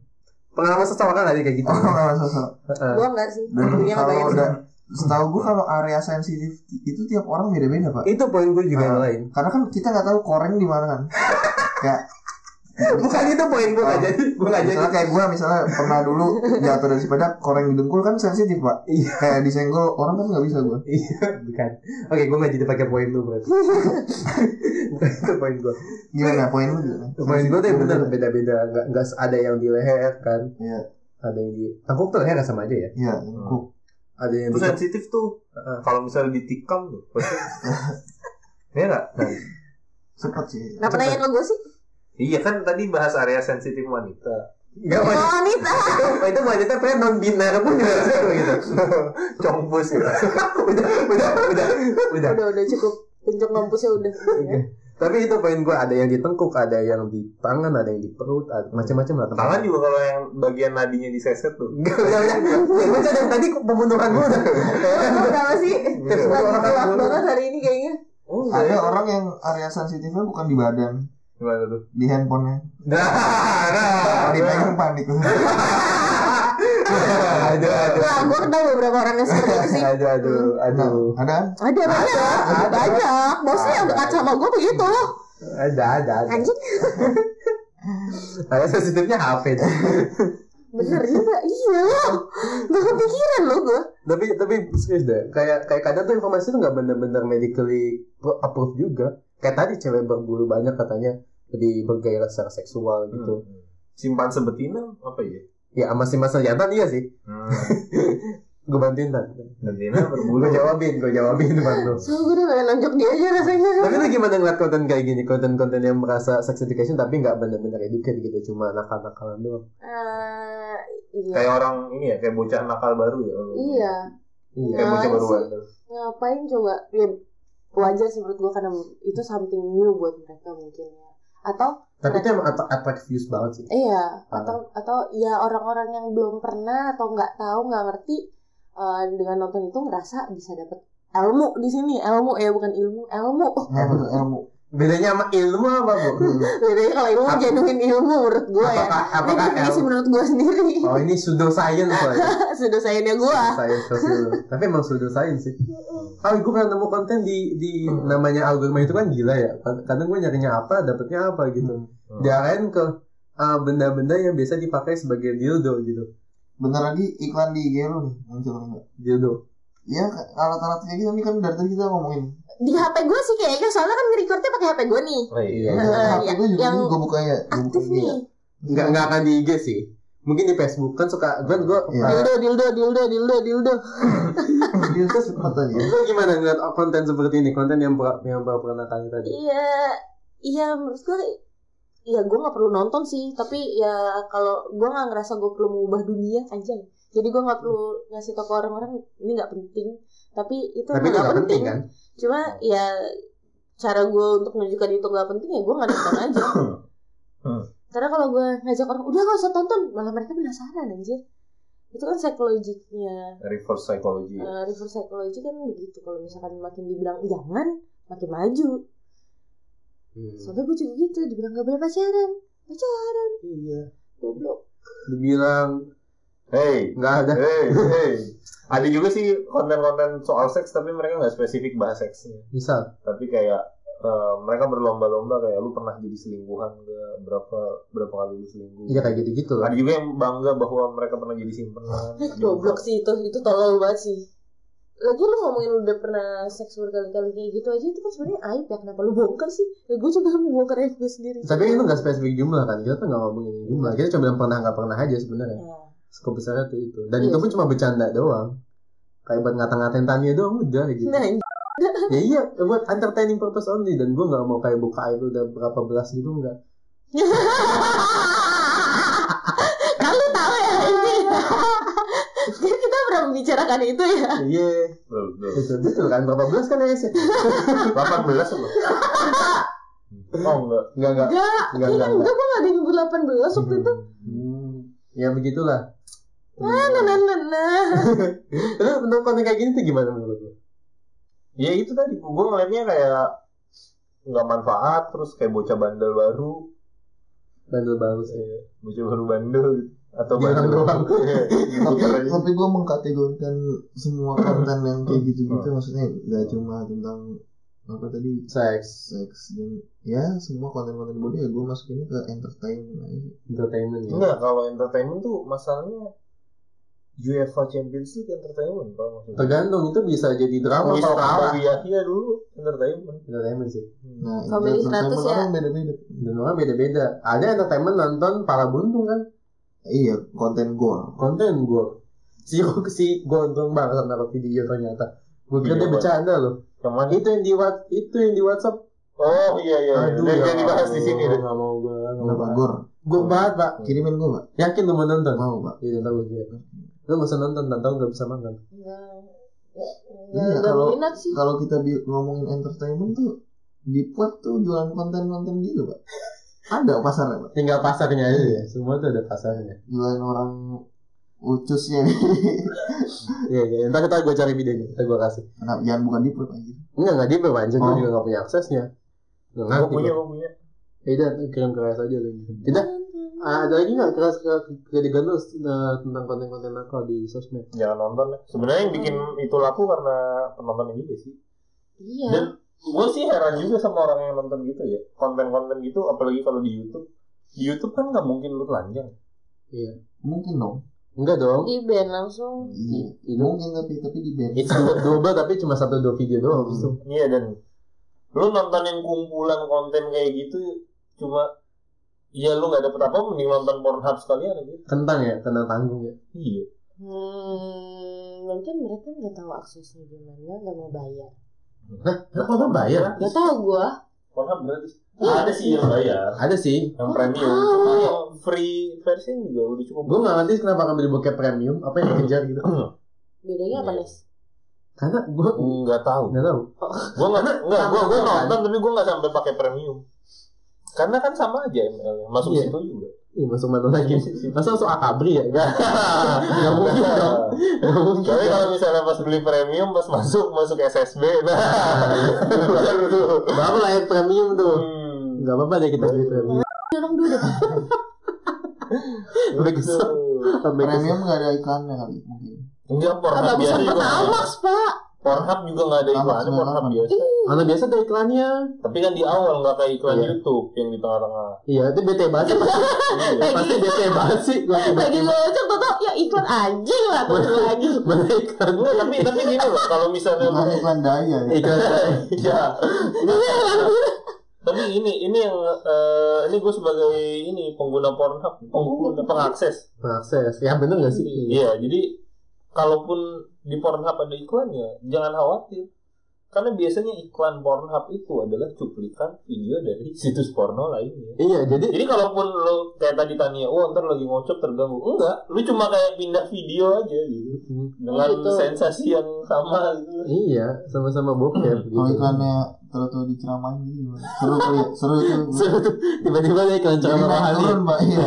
S2: pengalaman seseorang aja kayak gitu
S5: Oh, pengalaman sosok.
S2: Heeh.
S3: gua enggak sih.
S5: Dan
S3: Punya
S5: kalau
S3: banyak.
S5: udah setahu gua kalau area sensitif itu tiap orang beda-beda pak.
S2: itu poin gue juga yang
S5: Ah.
S2: lain
S5: Karena kan kita nggak tahu koreng di mana kan. kayak
S2: bukan itu poin gue nggak
S5: Ah.
S2: jadi gue nggak jadi
S5: misalnya kayak gua misalnya pernah dulu jatuh dari sepeda koreng di dengkul kan sensitif pak.
S2: Iya.
S5: Kayak disenggol orang kan nggak bisa gua.
S2: iya bukan oke gue nggak jadi pakai poin lu berarti bukan itu poin gue
S5: Gimana poin lu gimana?
S2: poin gue tuh yang bener
S5: Sensitif.
S2: beda-beda nggak nggak ada yang di leher kan
S5: Iya.
S2: ada yang di tangkuk tuh leher sama aja ya
S5: Iya, dengkul.
S2: ada yang
S1: Itu
S2: di
S1: sensitif tuh. Kalau misalnya ditikam tuh. pasti- Iya nggak?
S5: Cepet sih.
S3: Kenapa nanya ke gua sih?
S1: Iya kan tadi bahas area sensitif wanita.
S2: nggak
S3: Oh,
S2: wanita
S3: wanita.
S2: itu wanita pernah non biner pun juga gitu
S1: Combus ya.
S2: udah udah udah udah
S3: Udah udah cukup. Bentuk ngampusnya udah.
S2: Oke.
S7: Tapi itu poin gue ada yang di tengkuk, ada yang di tangan, ada yang di perut, ada- macam-macam lah. tempat.
S1: Tangan juga kalau yang bagian nadinya diseset tuh.
S7: Enggak, udah, udah. Ya, gue dari tadi pembunuhan gue udah.
S3: Kenapa sih? Lagi gelap banget hari ini kayaknya.
S5: Ada orang yang area sensitifnya bukan di badan,
S1: Gimana tuh?
S5: di handphonenya.
S7: Nah, nah.
S5: Kalau dipegang panik.
S7: Aduh, aduh.
S3: Wah, gue kenal Nah, beberapa orang yang seperti itu sih.
S7: Aduh, aduh,
S5: Nah,
S7: aduh.
S5: ada?
S3: Ada banyak, ada banyak. Bosnya yang dekat sama gue begitu.
S7: Ada, ada, ada.
S3: Anjing,
S7: Ada sensitifnya HP. tuh.
S3: bener juga. Iya, gak kepikiran loh gue.
S7: tapi tapi serius deh kayak kayak kadang tuh informasi tuh nggak bener-bener medically pro- approved juga kayak tadi cewek berbulu banyak katanya lebih bergairah secara seksual gitu
S1: Simpan sebetina apa ya?
S7: ya masih masa jantan iya sih
S1: Hmm.
S7: gue bantuin tan
S4: Iya,
S1: Betina
S7: gue
S1: berbulu.
S7: jawabin gue jawabin bantu
S3: So, gue udah pengen nonjok dia aja rasanya.
S7: tapi lu gimana ngeliat konten kayak gini konten-konten yang merasa sex education tapi nggak bener-bener educate gitu cuma nakal-nakalan doang
S3: Eh, iya.
S1: Kayak orang ini ya, kayak bocah nakal baru ya.
S3: Iya,
S1: Kayak bocah
S7: Iya.
S3: Apaan
S1: baruan.
S3: sih? ngapain coba ya wajar sih menurut gue karena itu something new buat mereka mungkin ya atau
S7: tapi itu emang attract attract views banget sih
S3: iya atau atau ya orang-orang yang belum pernah atau nggak tahu nggak ngerti eh, dengan nonton itu ngerasa bisa dapet ilmu di sini ilmu ya bukan ilmu ilmu
S5: Nggak perlu ilmu.
S7: bedanya sama ilmu apa bu
S3: bedanya Gitu ya, kalau ilmu
S7: Apa-
S3: jenuhin ilmu menurut gue ya
S7: apakah
S3: ini
S7: apakah
S3: definisi
S7: Ah. ilmu
S3: menurut gue sendiri
S7: oh ini pseudoscience soalnya
S3: sudah sayangnya gue
S7: Science sosial. Tapi emang pseudo science sih. Ah, gue pernah nemu konten di di namanya algoritma itu kan gila ya. Kad- Kadang gue nyarinya apa, dapetnya apa gitu.
S1: Hmm.
S7: Diarahin ke ah, benda-benda yang biasa dipakai sebagai dildo gitu.
S5: Bentar lagi iklan di IG lu nih muncul nih. Mbak.
S7: Dildo.
S5: Iya, alat-alat kayak gitu nih kan dari tadi kita ngomongin.
S3: di hp gue sih kayaknya soalnya kan ngerekordnya pakai hp gue nih
S1: Oh, iya.
S5: Nah,
S3: Eh,
S5: HP
S3: ya,
S5: gue juga
S3: yang
S5: nih, gue bukanya. Gue buka
S3: aktif
S5: IG
S7: iya.
S5: ya.
S3: nih
S7: Nggak nggak akan di IG sih. Mungkin di Facebook kan suka gue gue
S5: Iya.
S3: dildo dildo dildo dildo dildo
S5: Dia tuh cepet aja.
S7: Lu gimana ngeliat konten seperti ini? Konten yang pra, yang peranakan tadi.
S3: Iya, iya menurut gue ya gue nggak perlu nonton sih, tapi ya kalau gue nggak ngerasa gue perlu mengubah dunia aja. Jadi gue nggak perlu ngasih tau ke orang-orang ini nggak penting, tapi itu
S7: Tapi itu
S3: emang
S7: nggak penting kan?
S3: Cuma ya cara gue untuk menunjukkan itu nggak penting ya gue nggak nonton aja.
S1: Hmm.
S3: Karena kalau gue ngajak orang udah gak usah tonton, malah mereka penasaran anjir. Itu kan psikologiknya,
S1: Reverse psychology.
S3: eh, reverse psychology kan begitu. Kalau misalkan makin dibilang jangan, makin maju.
S1: Hmm.
S3: Soalnya gue juga gitu, dibilang gak boleh pacaran Pacaran,
S7: Iya.
S3: goblok
S7: Dibilang
S1: Hey,
S7: nggak ada.
S1: hey, hey. Ada juga sih konten-konten soal seks tapi mereka nggak spesifik bahas seksnya.
S7: Misal.
S1: Tapi kayak eh, mereka berlomba-lomba kayak lu pernah jadi selingkuhan nggak berapa berapa kali lu selingkuh.
S7: Iya kayak gitu gitu lah.
S1: Ada juga yang bangga bahwa mereka pernah jadi simpenan.
S3: Eh, Goblok sih itu, itu tolol banget sih Lagi lu ngomongin lu udah pernah seks berkali-kali kayak gitu aja Itu kan sebenarnya aib ya, kenapa lu bongkar sih? Ya gue juga mau bongkar aib gue sendiri
S7: Tapi kan itu nggak spesifik jumlah kan? Kita tuh nggak ngomongin jumlah. Kita cuma bilang pernah nggak pernah aja sebenarnya.
S3: Ya.
S7: Skop besarnya tuh itu. Dan
S3: Iya
S7: itu pun
S3: sih.
S7: cuma bercanda doang. Kayak buat ngata-ngatain Tania doang udah gitu.
S3: Nah,
S7: ya iya, buat entertaining purpose only. Dan gue nggak mau kayak buka aib udah berapa belas gitu nggak.
S3: kan lu tau ya ini Kan kita pernah membicarakan itu ya
S7: Iya,
S1: Betul, betul.
S7: betul betul kan berapa belas kan ya sih?
S1: 18 apa? Oh enggak.
S7: Nggak nggak
S3: Enggak, iya
S7: nggak nggak.
S3: kan
S7: nggak.
S3: enggak gue gak ada yang nyebut 18 waktu itu
S7: Hmm.
S1: Mm.
S7: Ya begitulah.
S3: Nah, nah, nah, nah
S7: Lu untuk konten kayak gini tuh gimana menurut lu?
S1: Ya itu tadi gue ngeliatnya kayak nggak manfaat terus kayak bocah bandel baru
S7: Bandel bagus ya.
S1: Iya, bocah baru bandel gitu. atau
S7: Bilang doang.
S1: Iya,
S5: tapi,
S1: diputer aja.
S5: tapi gue mengkategorikan semua konten yang kayak gitu-gitu maksudnya nggak cuma tentang apa tadi
S7: Seks,
S5: seks dan ya semua konten-konten body ya gue masukinnya ke entertainment aja
S7: entertainment ya.
S1: enggak kalau entertainment tuh masalahnya UEFA Champions League entertainment pak maksudnya
S7: Tergantung itu bisa jadi drama
S1: Wisnu
S7: kalau kalah.
S1: Abu Yahya dulu entertainment
S7: Entertainment sih.
S5: nah
S3: Family 100
S5: entertainment
S3: ya.
S5: orang beda-beda
S7: Dan orang beda-beda. Ada entertainment nonton para buntung kan.
S5: iya konten gore
S7: Konten gue. Si si gondrong banget naruh video ternyata. Gue kira dia
S1: Iya,
S7: bercanda loh.
S1: yang mana
S7: Itu yang di Whats- itu yang di WhatsApp.
S1: oh iya iya iya.
S7: Aduh,
S1: Jangan-
S7: ya
S1: jangan dibahas
S7: Allah,
S1: di sini deh
S7: Nggak mau gue.
S5: kenapa gore
S7: Gue banget pak.
S5: kirimin gue pak
S7: Yakin lu mau nonton?
S5: mau pak
S7: Iya, tahu gue. Lu nggak usah nonton, tau nggak bisa makan.
S3: Enggak,
S5: Iya,
S3: enggak
S5: kalau-
S7: Iya,
S3: minat sih
S5: kalau kita bi- ngomongin entertainment tuh di web tuh jualan konten-konten gitu pak ada pasarnya pak
S7: Tinggal pasarnya aja ya. Semua tuh ada pasarnya.
S5: jualan orang ucusnya nih
S7: Iya, iya. Ntar kita gue cari videonya. Ntar gue kasih.
S5: Kenapa? Nah, jangan bukan di web aja
S7: Enggak, enggak dia berpanjang. Gue
S5: Oh.
S7: juga nggak punya aksesnya.
S1: Gue
S7: Nggak ngerti
S1: punya,
S7: gua.
S1: gue punya.
S7: Ya udah, ntar kirim ke keras aja lagi. Tidak. ada lagi nggak keras ke ketiga lu eh, tentang konten-konten nakal di sosmed?
S1: Jangan nonton. lah. Sebenarnya yang bikin itu laku karena penontonnya juga sih.
S6: Iya.
S1: Dan gue sih heran juga sama orang yang nonton gitu ya. Konten-konten gitu, apalagi kalau di YouTube. Di YouTube kan nggak mungkin lu telanjang.
S5: mungkin dong
S7: Enggak dong.
S6: Di band langsung.
S5: iya
S7: Itu
S5: mungkin tapi tapi di band
S7: itu double tapi cuma satu dua video doang.
S5: Hmm.
S7: Itu
S1: Iya dan lu nontonin kumpulan konten kayak gitu cuma ya lu nggak dapet apa mending nonton Pornhub sekalian aja.
S7: kentang ya, kentang tanggung ya.
S1: Iya.
S6: Hmm, mungkin mereka nggak tahu aksesnya gimana, nggak mau bayar.
S7: Kenapa nggak bayar?
S3: Oh,
S6: Gak tahu gua.
S1: Pornhub gratis. Ada sih yang bayar,
S7: Ada sih.
S1: yang premium.
S6: tahu.
S1: Yang free version juga udah cukup.
S7: Gue nggak ngerti kenapa ngambil bokep premium. Apa yang dikejar gitu?
S6: Bedanya apa
S1: Iya.
S6: nih?
S7: Karena gue
S1: Nggak tahu.
S7: nggak tahu. kan?
S1: Gue nggak, nggak, gue gue
S7: sama-sama
S1: nonton tapi gue nggak sampai pakai premium. Karena kan sama aja ML-nya, masuk
S7: Iya.
S1: situ juga.
S7: Iya masuk mana lagi? Masa masuk akabri ya? Gak, gak mungkin dong. Gak mungkin.
S1: Tapi kalau misalnya pas beli premium, pas masuk masuk SSB,
S7: Iya,
S1: nah, baru tuh.
S7: Baru lah yang premium tuh.
S1: Hmm.
S7: Gak apa-apa deh kita beli premium.
S6: Dorong dulu.
S7: Sampai kesel. Sampai kesel.
S5: premium nggak ada iklannya kali mungkin
S1: Enggak, Pornhub
S6: Ada
S1: biasa
S6: pesan
S1: juga. nggak
S6: pertamax pak.
S1: ada. Pornhub juga nggak ada
S5: Pertamax
S1: iklan,
S5: juga
S1: Pornhub
S5: nggak ada.
S1: biasa.
S7: Mana biasa ada iklannya.
S1: Tapi kan di awal nggak kayak iklan
S7: Iya.
S1: YouTube yang di tengah-tengah.
S7: Iya itu bete banget sih. pasti.
S1: Iya.
S7: Pasti bete banget sih. Gua
S6: Lagi
S7: tiba-tiba.
S6: ngocok tuh ya iklan anjing lah tuh lagi.
S7: Mana iklan?
S1: Enggak, tapi tapi gini loh, kalau misalnya
S5: bukan iklan daya ya
S7: Iklan saya.
S1: Iya. Tapi ini ini yang eh, ini gue sebagai ini pengguna Pornhub, pengguna pengakses.
S7: Akses. Oh. Ya bener gak sih?
S1: Iya, jadi kalaupun di Pornhub ada iklan ya, jangan khawatir. Karena biasanya iklan Pornhub itu adalah cuplikan video dari situs porno lainnya.
S7: Iya jadi
S1: Jadi kalaupun lo kayak tadi tanya, oh ntar lagi ngocok terganggu, enggak, lu cuma kayak pindah video aja gitu
S7: Hmm,
S1: dengan
S6: gitu.
S1: sensasi yang sama gitu.
S7: Iya sama-sama bokep
S5: kalau
S7: gitu.
S5: iklannya terlalu diceramain gitu gimana seru kali ya seru itu
S7: Seru tuh, Tiba-tiba ada iklan
S5: Jadi
S7: ceramah
S5: naik
S7: rohani.
S5: turun mbak iya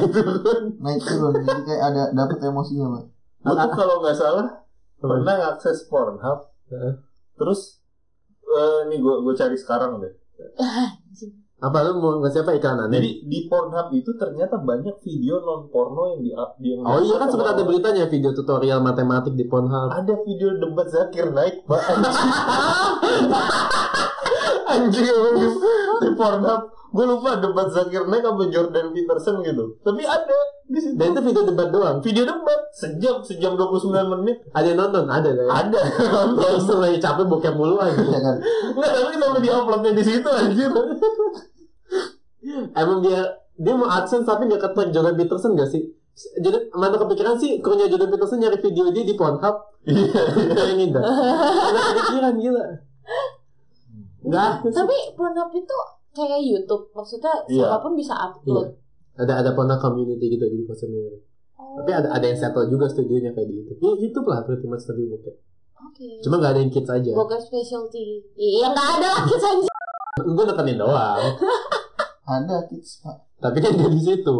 S5: naik turun jadi kayak ada dapat emosinya mbak
S1: Gue
S7: Ah.
S1: tuh kalau nggak salah
S7: Hmm.
S1: pernah ngakses Pornhub
S7: Heeh.
S1: terus eh, nih gue gue cari sekarang
S7: Hmm.
S1: deh
S7: Apa lu mau ngasih apa iklan aneh?
S1: jadi di Pornhub itu ternyata banyak video non porno yang di yang
S7: Oh iya kan
S1: di-
S7: sempat ada beritanya video tutorial matematik di Pornhub.
S1: ada video debat Zakir naik pak
S7: Anjir emang
S1: di Pornhub gue lupa debat Zakir naik sama Jordan Peterson gitu tapi ada di situ
S7: Dan itu video debat doang.
S1: video debat sejam sejam 29 menit
S7: Ada yang nonton, ada lah ya.
S1: ada
S7: Yang setelah capek bokep mulu aja.
S5: iya kan
S1: nggak tapi sampai di uploadnya di situ anjir
S7: Emang dia dia mau adsense tapi nggak ketek Jordan Peterson gak sih? Jadi mana kepikiran sih krunya Jordan Peterson nyari video dia di Pornhub?
S1: iya
S7: Bayangin dah. Nggak kepikiran gila. Nggak.
S6: Tapi Pornhub itu kayak YouTube, maksudnya
S1: Iya.
S6: siapapun bisa upload.
S7: Iya. Ada ada Pornhub community gitu jadi konsumnya. Tapi ada ada yang settle juga studionya kayak di YouTube. Ya YouTube lah pretty much tapi bokep.
S6: Oke.
S7: Cuma nggak ada yang kids aja.
S6: Bokep specialty. Iya nggak ada lah kisah anjing.
S7: Gue nekenin doang.
S5: ada kids pak
S7: Tapi kan dia di situ.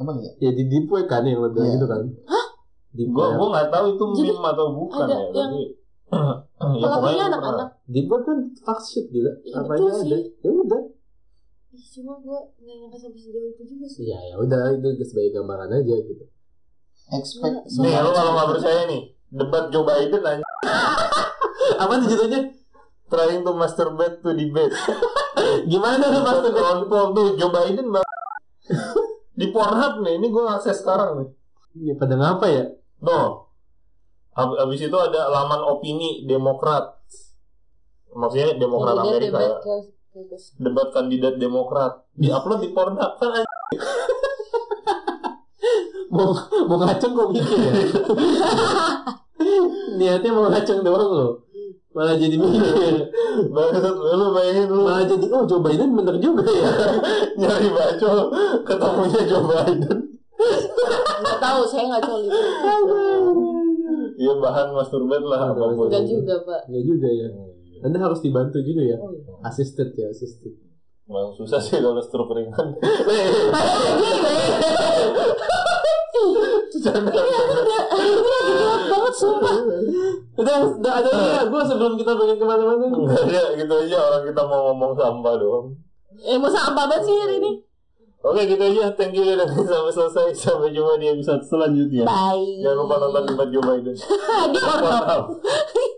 S5: emang ya
S7: ya di deep web kan yang lebih
S5: Iya.
S7: gitu kan deep
S1: Gue
S7: web
S1: gua nggak tahu itu
S6: Jadi
S1: meme atau bukan ya,
S6: ada yang-
S1: tapi ya,
S6: Pelakunya
S1: pokoknya
S6: anak-anak.
S7: deep web kan fuck shit gitu
S6: Iya,
S7: Iya, apa
S6: betul
S7: aja
S6: sih.
S7: ada ya udah
S6: Ih, Cuma gue nggak nyangka sampai sejauh itu juga sih.
S7: ya ya udah itu sebagai gambaran aja gitu
S5: expect
S6: Iya,
S1: Nih, lu kalau nggak percaya nih, debat Joe Biden aja.
S7: apa tuh judulnya
S1: Trying to masturbate to debate.
S7: gimana tuh mas
S1: Masturbate on poll tuh Joe Biden bang. Di Pornhub nih, ini gue akses sekarang nih.
S7: ya, pada ngapa ya
S1: Tuh. Hab- Habis itu ada laman opini Demokrat. Maksudnya Demokrat
S7: Iya,
S6: Jadi dia
S1: Amerika ya.
S6: debat Iya, ke- ke- ke-
S1: Debat kandidat Demokrat. Di-upload di Pornhub kan anjing.
S7: mau mau ngaceng kok mikir ya niatnya mau ngaceng doang loh malah jadi mikir
S1: Bangsat, lu bayangin lu
S7: malah jadi oh Joe Biden bener juga ya
S1: nyari baco ketemunya Joe Biden.
S6: Nggak tahu, saya nggak coli.
S1: Iya bahan masturbat lah
S7: Ada
S1: apapun.
S6: Nggak juga pak.
S7: Enggak juga ya
S1: Hmm, iya.
S7: Anda harus dibantu gitu ya.
S3: Oh, iya.
S7: Assisted ya, assisted.
S1: Emang susah sih kalau struk ringan.
S7: banget sumpah. Udah, udah ada lagi ya. Gue sebelum kita pengen kemana-mana. nih.
S1: Enggak ya, gitu aja orang kita mau ngomong sampah doang.
S3: Eh, mau sampah banget sih hari ini.
S1: Oke, gitu aja. Thank you udah dengerin sampai selesai. Sampai jumpa di episode selanjutnya.
S3: Bye.
S1: Jangan lupa nonton di Jumat Jumat itu.
S3: Di Pornhub.
S1: Maaf.